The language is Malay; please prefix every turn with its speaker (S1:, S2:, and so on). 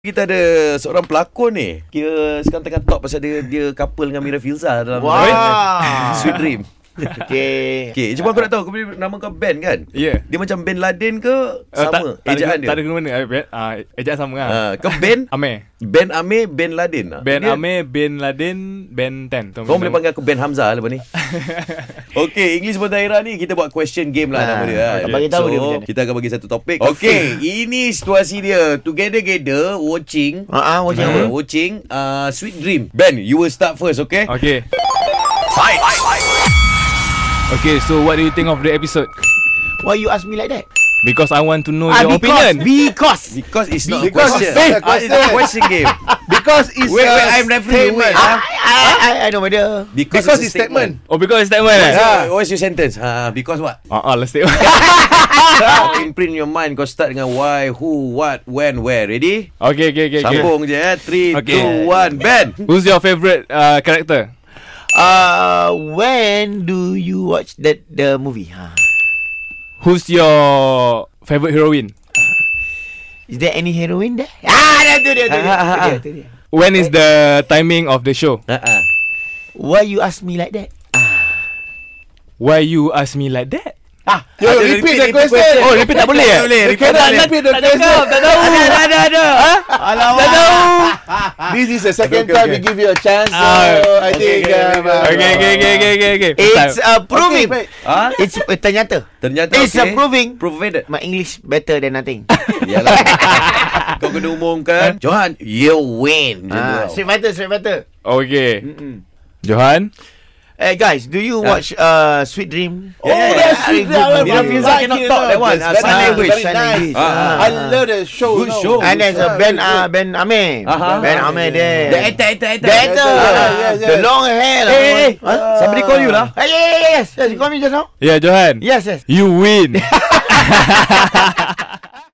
S1: Kita ada seorang pelakon ni Kira sekarang tengah talk pasal dia Dia couple dengan Mira Filza dalam
S2: Wah.
S1: Sweet Dream
S2: Okay.
S1: Okay, cuma aku nak tahu kau punya Nama kau band kan?
S3: Ya.
S1: Dia macam Bin Laden ke?
S3: Eh, tak-
S1: Sama,
S3: tak,
S1: ejaan
S3: ada,
S1: dia
S3: Tak ada guna mana. Uh, ejaan sama lah.
S1: Ah, Kau band?
S3: Amir.
S1: Ben Amir, Ben Laden ah.
S3: Ben
S1: Dia-
S3: Amir, Ben Laden, Ben Ten.
S1: Kau boleh panggil aku Ben Hamzah lepas ni Okay, English Berdaerah ni Kita buat question game lah
S2: Ah,
S1: nama dia kan?
S2: tak bagi tahu
S1: so,
S2: dia macam mana.
S1: Kita akan bagi satu topik Okay, ini situasi dia Together-gather, watching
S2: Ah, ah, macam apa?
S1: Uh, watching uh, Sweet Dream Ben, you will start first, okay?
S3: Okay. Okay, so what do you think of the episode?
S2: Why you ask me like that?
S3: Because I want to know
S2: Ah,
S3: your
S2: because,
S3: opinion.
S2: because.
S1: Because it's not a
S2: Because
S1: question.
S2: it's not a
S1: Ah, it's a question game.
S2: Because it's
S1: wait, wait, I'm referee. Wait,
S2: I,
S1: ah.
S2: I, I, I know whether.
S1: Because,
S2: it's
S3: Oh, because it's that one. eh?
S1: Yeah. What's your sentence? Ha, because what?
S3: Ah, ah, let's take.
S1: Imprint your mind. Kau start dengan why, who, what, when, where. Ready?
S3: Okay, okay, okay. okay.
S1: Sambung je eh. 3,
S3: Okay.
S1: 2, 1, Ben.
S3: Who's your favorite uh, character?
S2: Uh, when do you watch that the movie? Ha. Huh?
S3: Who's your favorite heroine?
S2: Is there any heroine there? Ah, dah tu dia, tu dia, tu dia, tu dia.
S3: When is the timing of the show?
S1: Ha, ha.
S2: Why you ask me like that?
S3: Why you ask me like that?
S2: Ah,
S1: Yo,
S2: ada
S1: repeat the question.
S3: Oh, repeat tak boleh eh?
S1: Tak boleh, repeat
S3: Okay,
S1: tak
S3: tak
S1: boleh.
S3: repeat the question. Tak tahu.
S1: Ada, ada, ada, ada.
S4: Alamak. This is the second
S1: Okay, okay,
S4: time
S1: okay.
S4: we give you a chance. So
S3: Ah,
S4: I think
S1: okay, okay,
S4: um, uh,
S3: Okay, okay, okay, okay, okay, okay.
S2: It's uh, proving.
S4: Okay, baik.
S1: Ha?
S2: It's uh, ternyata.
S1: Ternyata
S2: It's
S1: okay.
S2: a proving.
S1: Provided.
S2: My English better than nothing. Ah,
S1: Yalah. Kau kena umumkan. Johan, you win.
S2: ah,
S1: Macam tu.
S2: straight fighter, straight fighter.
S3: Okay. Johan?
S2: Hey guys, do you watch uh, Sweet Dream?
S4: Oh, that's
S2: very
S4: sweet.
S2: good
S4: I
S2: movie.
S1: Mira Filza
S4: like
S1: cannot
S4: it,
S1: talk
S4: no.
S1: that one.
S4: It's
S1: Ah,
S4: very
S1: sign
S4: nice,
S1: language,
S4: very
S2: sign language.
S4: nice.
S2: Ah.
S4: I love the show.
S1: Good
S4: no.
S1: show.
S2: And there's a Ben uh, Ben Amir.
S1: Aha.
S2: Ben Amir there.
S1: The actor, actor, actor.
S2: The actor.
S4: Yeah, yeah, yeah.
S2: The long hair.
S1: Hey, hey, hey.
S2: Huh?
S1: Somebody call you lah.
S2: Hey, yeah, yeah, yeah, yes. Yes, you call me just now?
S3: Yeah, Johan.
S2: Yes, yes.
S3: You win.